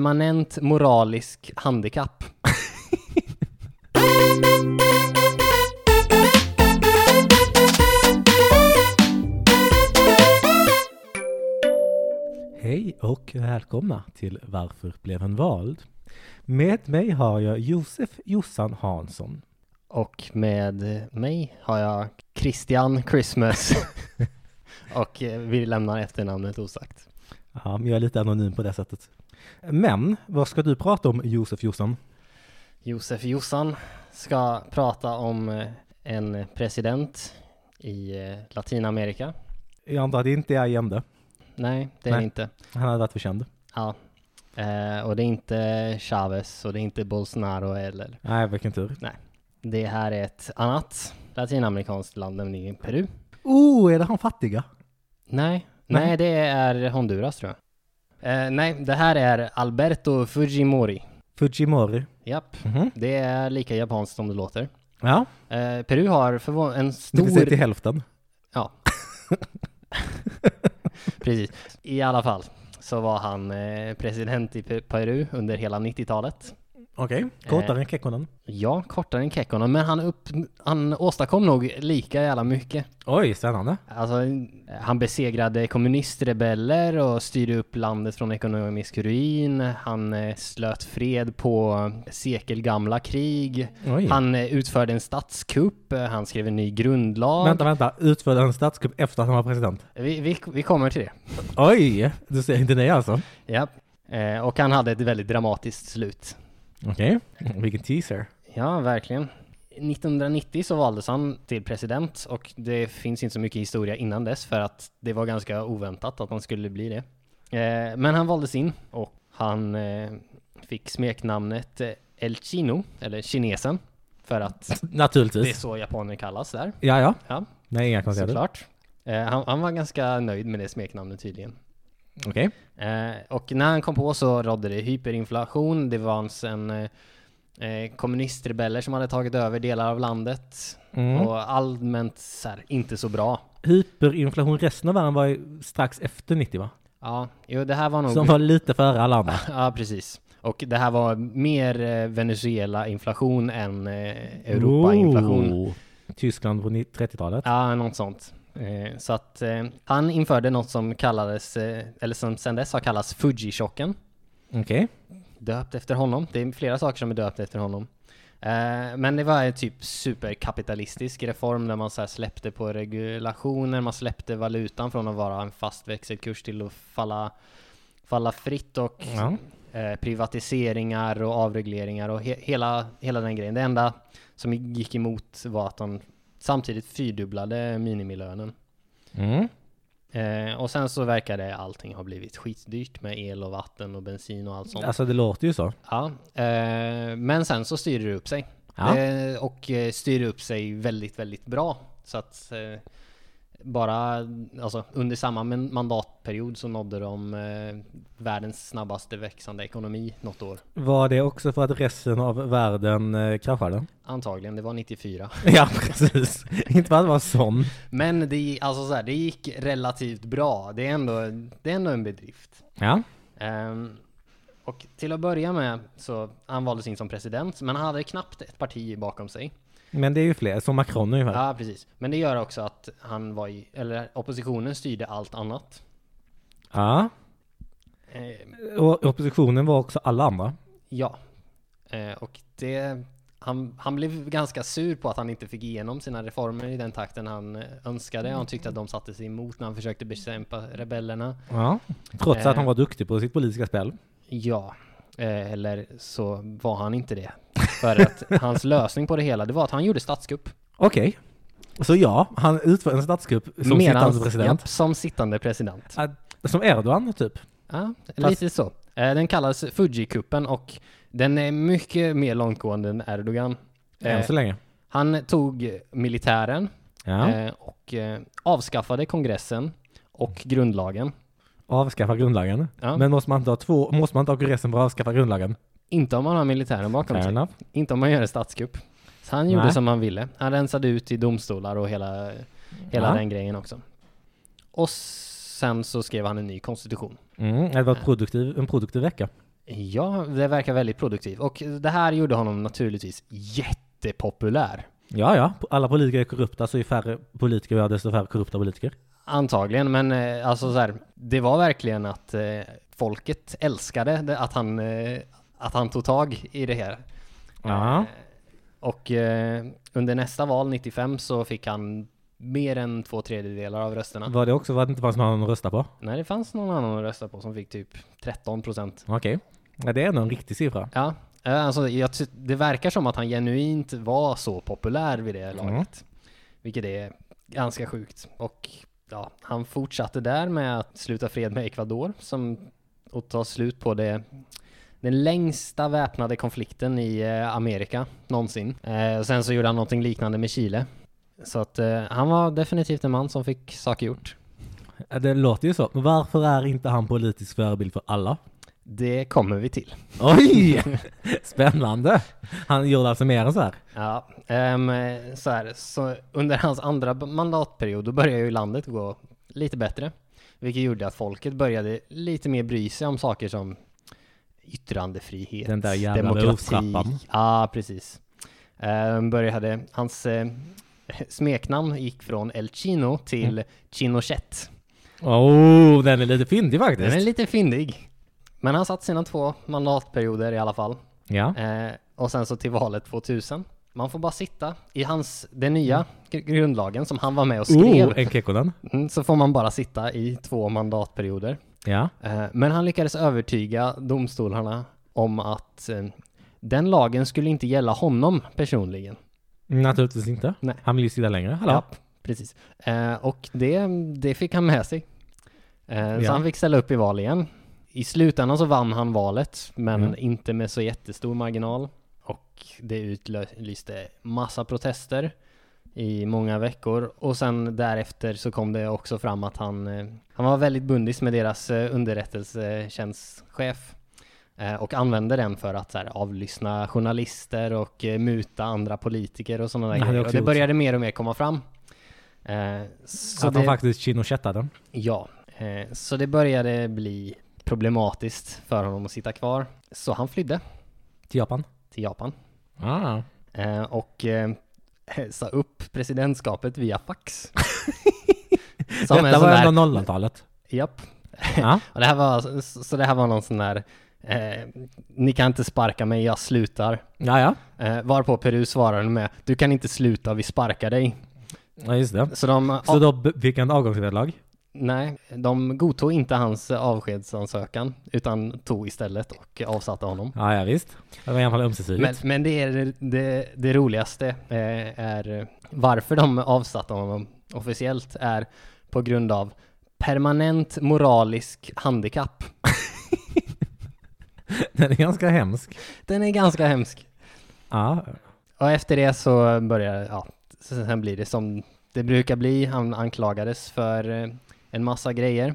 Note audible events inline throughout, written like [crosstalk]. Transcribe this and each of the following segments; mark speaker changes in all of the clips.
Speaker 1: permanent moralisk handikapp.
Speaker 2: Hej och välkomna till Varför blev han vald? Med mig har jag Josef Jossan Hansson.
Speaker 1: Och med mig har jag Christian Christmas. och eh, vi lämnar efternamnet osagt.
Speaker 2: Ja, men jag är lite anonym på det sättet. Men vad ska du prata om Josef Jossan?
Speaker 1: Josef Jossan ska prata om eh, en president i eh, Latinamerika.
Speaker 2: Jag antar att det inte är Allende.
Speaker 1: Nej, det är
Speaker 2: Nej.
Speaker 1: det inte.
Speaker 2: Han hade varit för känd.
Speaker 1: Ja. Eh, och det är inte Chavez och det är inte Bolsonaro heller.
Speaker 2: Nej, vilken tur.
Speaker 1: Det här är ett annat latinamerikanskt land, nämligen Peru.
Speaker 2: Oh, är det han fattiga?
Speaker 1: Nej,
Speaker 2: Nej.
Speaker 1: nej, det är Honduras tror jag. Eh, nej, det här är Alberto Fujimori.
Speaker 2: Fujimori.
Speaker 1: Japp,
Speaker 2: Mhm.
Speaker 1: det är lika japanskt som det låter.
Speaker 2: Ja,
Speaker 1: Eh, Peru har förvå- en
Speaker 2: det vill säga
Speaker 1: stor...
Speaker 2: till hälften.
Speaker 1: Ja. Precis. I alla fall så var han eh, president i Pe- Peru under hela 90-talet.
Speaker 2: Okej, Eh. kortare än Kekkonen.
Speaker 1: Ja, kortare än Kekkonen, men han, upp, han åstadkom nog lika jävla mycket.
Speaker 2: Oj, spännande.
Speaker 1: Alltså, han besegrade kommunistrebeller och styrde upp landet från ekonomisk ruin. Han eh, slöt fred på sekelgamla krig.
Speaker 2: Oj.
Speaker 1: Han eh, utförde en statskupp. Eh, Han skrev en ny grundlag.
Speaker 2: Vänta, vänta. Utförde en statskupp efter att han var president?
Speaker 1: Vi, vi, vi kommer till det.
Speaker 2: Oj, du säger inte nej alltså?
Speaker 1: Ja. Eh, Och han hade ett väldigt dramatiskt slut.
Speaker 2: Okej, vilken teaser.
Speaker 1: Ja, verkligen. 1990 så valdes han till president och det finns inte så mycket historia innan dess för att det var ganska oväntat att han skulle bli det. Eh, Men han valdes in och han eh, fick smeknamnet eh, El Chino, eller Kinesen, för att det är
Speaker 2: Naturligtvis.
Speaker 1: så japaner kallas där.
Speaker 2: Ja, ja.
Speaker 1: Ja,
Speaker 2: Nej, inga konstigheter.
Speaker 1: såklart. Eh, Han, han var ganska nöjd med det smeknamnet tydligen.
Speaker 2: Okej.
Speaker 1: Eh, och när han kom på så rådde det hyperinflation, det fanns en eh, eh, kommunistrebeller som hade tagit över delar av landet
Speaker 2: Mm.
Speaker 1: och allmänt så här, inte så bra.
Speaker 2: Hyperinflation resten av världen var ju strax efter 90 va?
Speaker 1: Ja, jo det här var nog...
Speaker 2: Som var lite före alla andra.
Speaker 1: [laughs] Ja, precis. Och det här var mer eh, Venezuela-inflation än eh, Europa-inflation.
Speaker 2: Oh. Tyskland på ni- 30-talet.
Speaker 1: Ja, något sånt. Eh, så att eh, han införde något som kallades, eh, eller som sedan dess har kallats Fuji-chocken.
Speaker 2: Okej.
Speaker 1: döpt efter honom. Det är flera saker som är döpt efter honom. Eh, men det var en typ superkapitalistisk reform där man så här släppte på regulationer, man släppte valutan från att vara en fast växelkurs till att falla, falla fritt och
Speaker 2: Ja.
Speaker 1: eh, privatiseringar och avregleringar och he- hela, hela den grejen. Det enda som gick emot var att de samtidigt fyrdubblade minimilönen.
Speaker 2: Mm.
Speaker 1: Eh, och sen så verkade allting ha blivit skitdyrt med el och vatten och bensin och allt sånt.
Speaker 2: Alltså det låter ju så.
Speaker 1: Ja, eh, men sen så styrde det upp sig.
Speaker 2: Ja.
Speaker 1: Eh, och eh, styrde upp sig väldigt, väldigt bra. Så att eh, bara alltså, under samma men- mandatperiod så nådde de eh, världens snabbaste växande ekonomi något år.
Speaker 2: Var det också för att resten av världen eh, kraschade? [laughs]
Speaker 1: Antagligen, det var 94.
Speaker 2: Ja, precis. Inte för att det var sån.
Speaker 1: [laughs] Men det, alltså, så här, det gick relativt bra. Det är ändå, det är ändå en bedrift.
Speaker 2: Ja.
Speaker 1: Ehm, och till att börja med så han valdes in som president, men han hade knappt ett parti bakom sig.
Speaker 2: Men det är ju fler, som Macron ungefär.
Speaker 1: Ja, precis. Men det gör också att han var i, eller oppositionen styrde allt annat.
Speaker 2: Ja.
Speaker 1: Eh,
Speaker 2: Och oppositionen var också alla andra.
Speaker 1: ja. Eh, och det, han, han blev ganska sur på att han inte fick igenom sina reformer i den takten han eh, önskade. Han tyckte att de satte sig emot när han försökte bekämpa rebellerna.
Speaker 2: Ja. Trots att
Speaker 1: Eh.
Speaker 2: han var duktig på sitt politiska spel.
Speaker 1: Ja. Eh, eller så var han inte det. För
Speaker 2: [laughs]
Speaker 1: att hans lösning på det hela, det var att han gjorde statskupp.
Speaker 2: Okej. Så ja, han utför en statskupp som sittande president.
Speaker 1: Japp, som sittande president.
Speaker 2: Att- Som Erdogan, typ.
Speaker 1: Ja,
Speaker 2: Fast-
Speaker 1: lite så. Eh, Den kallas Fuji-kuppen och den är mycket mer långtgående än Erdogan.
Speaker 2: Än
Speaker 1: Eh,
Speaker 2: så länge.
Speaker 1: Han tog militären
Speaker 2: Ja.
Speaker 1: eh, och eh, avskaffade kongressen och grundlagen.
Speaker 2: Avskaffa grundlagen.
Speaker 1: Ja.
Speaker 2: Men måste man inte ha två, måste man inte ha kongressen för att avskaffa grundlagen?
Speaker 1: Inte om man har militären bakom
Speaker 2: Fair
Speaker 1: sig.
Speaker 2: enough.
Speaker 1: Inte om man gör en statskupp. Så han gjorde
Speaker 2: Nej.
Speaker 1: som han ville. Han rensade ut i domstolar och hela, hela
Speaker 2: Ja.
Speaker 1: den grejen också. Och sen så skrev han en ny konstitution.
Speaker 2: Mm, det var ett produktiv, en produktiv vecka.
Speaker 1: Ja, det verkar väldigt produktiv. Och det här gjorde honom naturligtvis jättepopulär.
Speaker 2: Ja, ja. Alla politiker är korrupta, så ju färre politiker vi har, desto färre korrupta politiker.
Speaker 1: Antagligen, men eh, alltså så här, det var verkligen att eh, folket älskade det, att, han, eh, att han tog tag i det här.
Speaker 2: Ja.
Speaker 1: Och eh, under nästa val, 95, så fick han mer än två tredjedelar av rösterna.
Speaker 2: Var det också, var det inte fanns någon att rösta på?
Speaker 1: Nej, det fanns någon annan att rösta på som fick typ 13 procent.
Speaker 2: Okej. Ja, det är ändå en riktig siffra.
Speaker 1: Ja, eh, alltså, jag, ty- det verkar som att han genuint var så populär vid det laget.
Speaker 2: Mm.
Speaker 1: Vilket är ganska sjukt. Och ja, han fortsatte där med att sluta fred med Ecuador som, och ta slut på det, den längsta väpnade konflikten i eh, Amerika någonsin. Eh, och sen så gjorde han någonting liknande med Chile. Så att eh, han var definitivt en man som fick saker gjort.
Speaker 2: Ja, Det låter ju så. Men varför är inte han politisk förebild för alla?
Speaker 1: Det kommer vi till.
Speaker 2: Oj! [laughs] Spännande! Han gjorde alltså mer än så här.
Speaker 1: Ja, ehm, så här, så under hans andra b- mandatperiod då började ju landet gå lite bättre. Vilket gjorde att folket började lite mer bry sig om saker som yttrandefrihet,
Speaker 2: Den där jävla rottrappan.
Speaker 1: Ja, precis. Ehm, började, hans eh, [laughs] smeknamn gick från El Chino till
Speaker 2: Mm.
Speaker 1: Chinochet.
Speaker 2: Oh, den är lite fyndig faktiskt.
Speaker 1: Den är lite fyndig. Men han satt sina två mandatperioder i alla fall.
Speaker 2: Ja.
Speaker 1: Eh, och sen så till valet 2000. Man får bara sitta i hans, den nya gr- grundlagen som han var med och skrev.
Speaker 2: Oh, en Kekkonen.
Speaker 1: Mm, Så får man bara sitta i två mandatperioder.
Speaker 2: Ja.
Speaker 1: Eh, men han lyckades övertyga domstolarna om att eh, den lagen skulle inte gälla honom personligen.
Speaker 2: Naturligtvis inte.
Speaker 1: Nej.
Speaker 2: Han vill ju sitta längre. Hallå?
Speaker 1: Ja, precis. Eh, och det, det fick han med sig. Eh, Så
Speaker 2: Ja.
Speaker 1: han fick ställa upp i val igen. I slutändan så vann han valet, men
Speaker 2: Mm.
Speaker 1: inte med så jättestor marginal. Och det utlyste massa protester i många veckor. Och sen därefter så kom det också fram att han, eh, han var väldigt bundis med deras eh, underrättelsetjänstchef. Eh, Och använde den för att så här, avlyssna journalister och eh, muta andra politiker och sådana
Speaker 2: Det
Speaker 1: där
Speaker 2: hade
Speaker 1: grejer.
Speaker 2: jag
Speaker 1: Och
Speaker 2: också
Speaker 1: det
Speaker 2: gjort.
Speaker 1: började mer och mer komma fram. Eh,
Speaker 2: Så
Speaker 1: Så
Speaker 2: att han
Speaker 1: det,
Speaker 2: faktiskt chinochettade den.
Speaker 1: ja, eh, så det började bli problematiskt för honom att sitta kvar. Så han flydde
Speaker 2: Till Japan.
Speaker 1: till Japan
Speaker 2: Ah.
Speaker 1: eh, och eh, sa upp presidentskapet via fax. Som en
Speaker 2: Detta
Speaker 1: sån
Speaker 2: var
Speaker 1: där-
Speaker 2: ändå [laughs] 00-talet.
Speaker 1: Japp.
Speaker 2: Ja.
Speaker 1: Och det här var, så det här var någon sån där, eh, ni kan inte sparka mig, jag slutar.
Speaker 2: ja, ja.
Speaker 1: Eh, varpå Peru svarade med, du kan inte sluta, vi sparkar dig.
Speaker 2: Ja, just det.
Speaker 1: Så de,
Speaker 2: Så då b- fick han avgångsvederlag.
Speaker 1: nej, de godtog inte hans avskedsansökan, utan tog istället och avsatte honom.
Speaker 2: Ja, ja, visst. Det var i alla fall ömsesidigt.
Speaker 1: Men, men det är det, det, det roligaste eh, är varför de avsatte honom officiellt är på grund av permanent moralisk handikapp.
Speaker 2: [laughs] Den är ganska hemsk.
Speaker 1: Den är ganska hemsk.
Speaker 2: Ja.
Speaker 1: Och efter det så börjar, ja, sen sen blir det som det brukar bli. Han anklagades för eh, en massa grejer.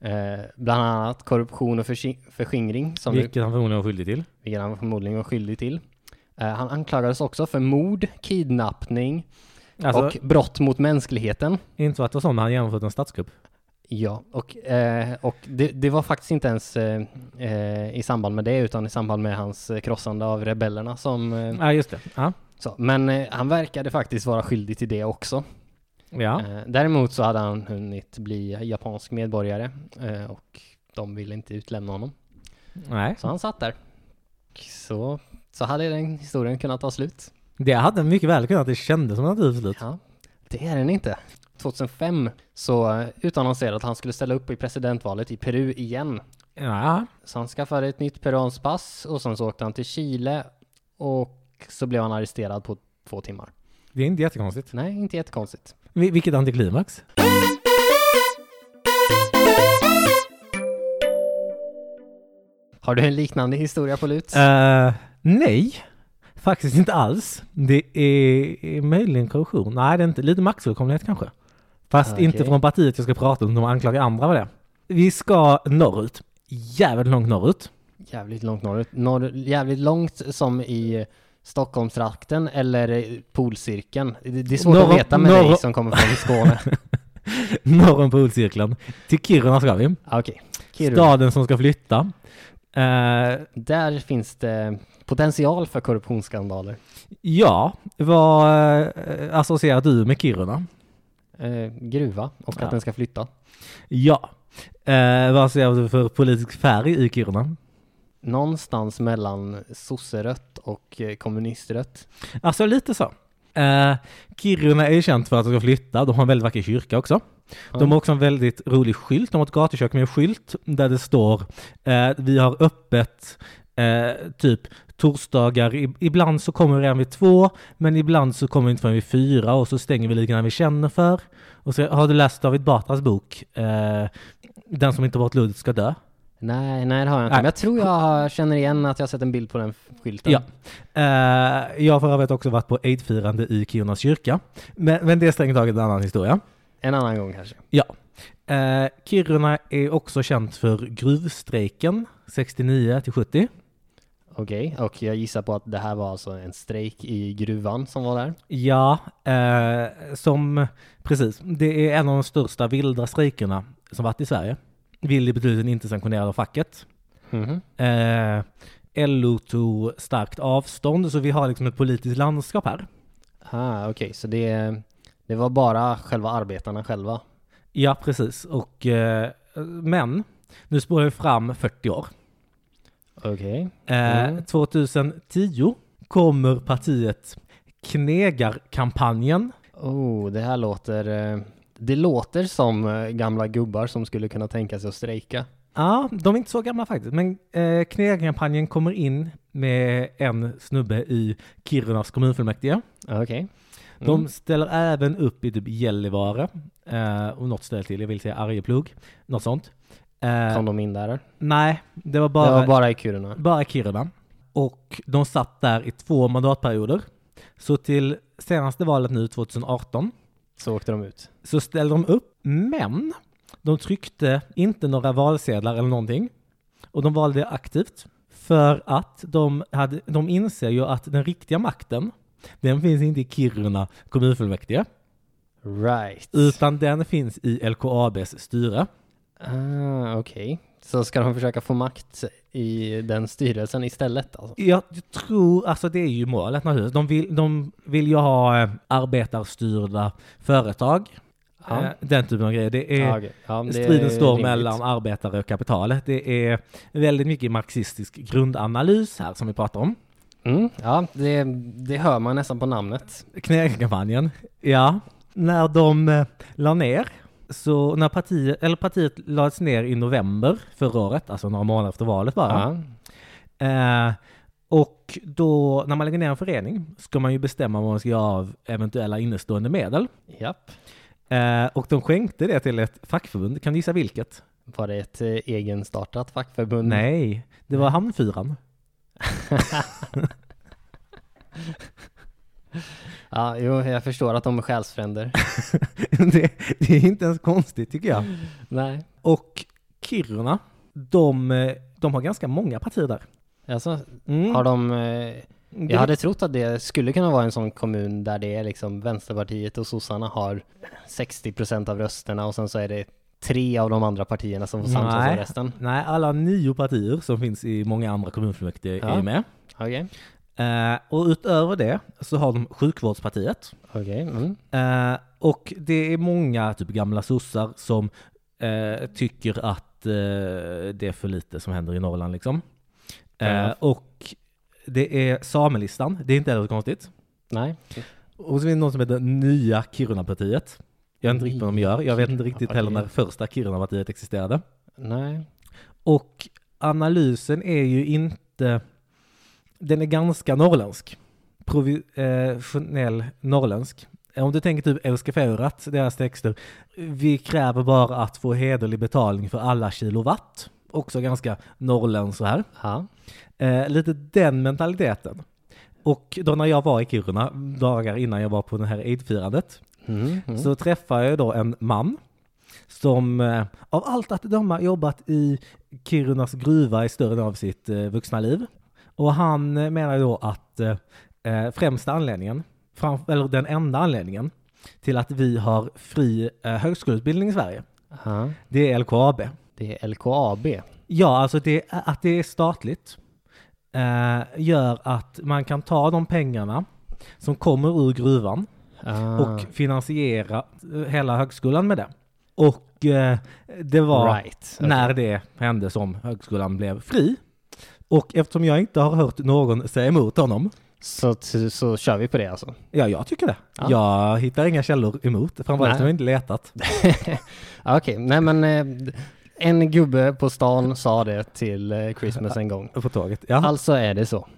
Speaker 1: Eh, bland annat korruption och försi- förskingring, som vi,
Speaker 2: Vilket han förmodligen var skyldig till.
Speaker 1: vilket han förmodligen var skyldig till. Eh, han anklagades också för mord, kidnappning
Speaker 2: Alltså,
Speaker 1: och brott mot mänskligheten.
Speaker 2: inte så att det var så, men han genomförde en statskupp.
Speaker 1: Ja, och, eh, och det, det var faktiskt inte ens eh, eh, i samband med det, utan i samband med hans eh, krossande av rebellerna som... Eh,
Speaker 2: Ja, just det. Ja.
Speaker 1: så. Men eh, han verkade faktiskt vara skyldig till det också.
Speaker 2: Ja.
Speaker 1: Eh, Däremot så hade han hunnit bli japansk medborgare eh, och de ville inte utlämna honom.
Speaker 2: Nej.
Speaker 1: Så han satt där. Och Så, så hade den historien kunnat ta slut.
Speaker 2: Det hade mycket väl kunnat. Det kändes som ett naturligt slut.
Speaker 1: Ja, det är den inte. 2005 så eh, utannonserade att han skulle ställa upp i presidentvalet i Peru igen.
Speaker 2: Ja.
Speaker 1: Så han skaffade ett nytt peruanskt pass och sen så åkte han till Chile och så blev han arresterad på två timmar.
Speaker 2: Det är inte jättekonstigt.
Speaker 1: Nej, inte jättekonstigt.
Speaker 2: Vil- vilket antiklimax.
Speaker 1: Har du en liknande historia på lut?
Speaker 2: Eh, nej, faktiskt inte alls. Det är, är möjligen korruption. Nej, det är inte. Lite maktfullkomlighet kanske. Fast
Speaker 1: Okej.
Speaker 2: inte från partiet jag ska prata om, de anklagar andra för det. Vi ska norrut. Jävligt långt norrut. [laughs]
Speaker 1: Jävligt långt norrut. Norr, jävligt långt som i Stockholmstrakten eller polcirkeln. Det, det är svårt
Speaker 2: Norr-
Speaker 1: att veta med
Speaker 2: norr-
Speaker 1: dig som kommer från
Speaker 2: [laughs]
Speaker 1: Skåne.
Speaker 2: Norr om polcirkeln. Till Kiruna ska vi.
Speaker 1: Ah, Okej. Kiruna.
Speaker 2: Staden som ska flytta. Eh,
Speaker 1: Där finns det potential för korruptionsskandaler.
Speaker 2: ja, vad eh, associerar du med Kiruna?
Speaker 1: Eh, gruva och
Speaker 2: Ja.
Speaker 1: att den ska flytta.
Speaker 2: Ja. Eh, vad ser du för politisk färg i Kiruna?
Speaker 1: Någonstans mellan sosserött och eh, kommunistrött.
Speaker 2: Alltså lite så. Eh, Kiruna är ju känt för att de ska flytta. De har en väldigt vacker kyrka också. De har också en väldigt rolig skylt. De har ett gatukök med en skylt där det står eh, vi har öppet eh, typ torsdagar. I- Ibland så kommer vi redan vid två, men ibland så kommer vi inte förrän vid fyra och så stänger vi lite när vi känner för. Och så har du läst David Batras bok eh, Den som inte varit luddig ska dö.
Speaker 1: Nej, nej det har jag inte.
Speaker 2: Nej.
Speaker 1: Men jag tror jag har- känner igen att jag har sett en bild på den f- skylten.
Speaker 2: Ja. Eh, jag har för övrigt också varit på aidfirande i Kiruna kyrka. Men, men det är strängt taget en annan historia.
Speaker 1: En annan gång kanske.
Speaker 2: Ja. Eh, Kiruna är också känt för gruvstrejken 69 till 70.
Speaker 1: Okej, och jag gissar på att det här var alltså en strejk i gruvan som var där.
Speaker 2: Ja, eh, som precis. Det är en av de största vilda strejkerna som varit i Sverige. Vild i betydelsen inte sanktionerad av facket.
Speaker 1: Mhm.
Speaker 2: Eh, LO tog starkt avstånd, så vi har liksom ett politiskt landskap här.
Speaker 1: Ah, Okej, så det, det var bara själva arbetarna själva.
Speaker 2: Ja, precis. Och, eh, men, nu spårar vi fram 40 år.
Speaker 1: Okej.
Speaker 2: Eh,
Speaker 1: Mm.
Speaker 2: 2010 kommer partiet Knegarkampanjen.
Speaker 1: Oh, det här låter... eh, Det låter som eh, gamla gubbar som skulle kunna tänka sig att strejka.
Speaker 2: Ja, de är inte så gamla faktiskt, men eh, Knegarkampanjen kommer in med en snubbe i Kirunas kommunfullmäktige.
Speaker 1: Okej.
Speaker 2: De
Speaker 1: Mm.
Speaker 2: ställer även upp i typ Gällivare eh, och något ställe till, jag vill säga Arjeplog, något sånt. Eh,
Speaker 1: Kom de in där?
Speaker 2: nej, det var
Speaker 1: Det
Speaker 2: bara,
Speaker 1: var bara i Kiruna.
Speaker 2: bara Kiruna. Och de satt där i två mandatperioder. Så till senaste valet nu 2018
Speaker 1: Så åkte de ut.
Speaker 2: så ställde de upp, men de tryckte inte några valsedlar eller någonting. Och de valde aktivt för att de, hade, de inser ju att den riktiga makten, den finns inte i Kiruna kommunfullmäktige,
Speaker 1: Right.
Speaker 2: utan den finns i LKABs styre.
Speaker 1: Ah, Okej. Så ska de försöka få makt i den styrelsen istället alltså?
Speaker 2: Jag tror, alltså det är ju målet naturligtvis. De vill, de vill ju ha eh, arbetarstyrda företag.
Speaker 1: Ja.
Speaker 2: Eh, Den typen av grejer. Det är,
Speaker 1: Ja, Ah, okej. Ja, det är
Speaker 2: Striden står
Speaker 1: rimligt.
Speaker 2: mellan arbetare och kapitalet. Det är väldigt mycket marxistisk grundanalys här som vi pratar om.
Speaker 1: Mm, ja, det, det hör man nästan på namnet.
Speaker 2: Knäckkampanjen. Ja, när de eh, la ner, så när partiet, eller partiet lades ner i november förra året, alltså några månader efter valet bara.
Speaker 1: Ja.
Speaker 2: Eh, och då, när man lägger ner en förening, ska man ju bestämma vad man ska göra av eventuella innestående medel.
Speaker 1: Japp.
Speaker 2: Eh, och de skänkte det till ett fackförbund, kan du gissa vilket?
Speaker 1: Var det ett eh, egenstartat fackförbund?
Speaker 2: Nej, det var Hamnfyran. [laughs]
Speaker 1: Ja, jo, jag förstår att de är
Speaker 2: [laughs]
Speaker 1: själsfränder.
Speaker 2: det, det är inte ens konstigt tycker jag.
Speaker 1: Mm. Nej.
Speaker 2: Och Kiruna, de, eh, de har ganska många partier där.
Speaker 1: Alltså,
Speaker 2: Mm.
Speaker 1: har de... eh,
Speaker 2: Det-
Speaker 1: Jag hade trott att det skulle kunna vara en sån kommun där det är liksom Vänsterpartiet och sossarna har 60% av rösterna och sen så är det tre av de andra partierna som får samsas om
Speaker 2: Nej.
Speaker 1: resten.
Speaker 2: Nej, alla nio partier som finns i många andra kommunfullmäktige
Speaker 1: Ja.
Speaker 2: är med.
Speaker 1: Okej.
Speaker 2: Eh, och utöver det så har de sjukvårdspartiet.
Speaker 1: Okej. Mm.
Speaker 2: Eh, och det är många typ gamla sossar som eh, tycker att eh, det är för lite som händer i Norrland liksom. Eh,
Speaker 1: Ja.
Speaker 2: Och det är samelistan, det är inte heller konstigt.
Speaker 1: Nej.
Speaker 2: Och så finns det något som heter Nya Kirunapartiet. Jag vet inte riktigt vad de gör. Jag vet inte riktigt heller när
Speaker 1: Kirunapartiet.
Speaker 2: första Kirunapartiet existerade.
Speaker 1: Nej.
Speaker 2: Och analysen är ju inte... Den är ganska norrländsk. Provisionell norrländsk. Om du tänker typ Euskafeurat, deras texter. Vi kräver bara att få hederlig betalning för alla kilowatt. Också ganska norrländskt så här.
Speaker 1: Ja.
Speaker 2: Eh, lite den mentaliteten. Och då när jag var i Kiruna, dagar innan jag var på det här aidfirandet,
Speaker 1: Mm. Mm.
Speaker 2: så träffade jag då en man som eh, av allt att döma jobbat i Kirunas gruva i större delen av sitt eh, vuxna liv. Och han eh, menar då att eh, eh, främsta anledningen, fram, eller den enda anledningen till att vi har fri eh, högskoleutbildning i Sverige,
Speaker 1: Ja.
Speaker 2: det är LKAB.
Speaker 1: Det är LKAB.
Speaker 2: Ja, alltså det, att det är statligt eh, gör att man kan ta de pengarna som kommer ur gruvan
Speaker 1: Ah,
Speaker 2: och finansiera eh, hela högskolan med det. Och eh, det var
Speaker 1: right. alltså. okej.
Speaker 2: när det hände som högskolan blev fri. Och eftersom jag inte har hört någon säga emot honom,
Speaker 1: Så, så, så kör vi på det alltså. [laughs]
Speaker 2: ja jag tycker det.
Speaker 1: Ja.
Speaker 2: Jag hittar inga källor emot, framförallt
Speaker 1: Nej.
Speaker 2: har jag inte letat.
Speaker 1: Ja, Okej, nej men eh, en gubbe på stan sa det till eh, Christmas en gång.
Speaker 2: På tåget, ja.
Speaker 1: Alltså är det så.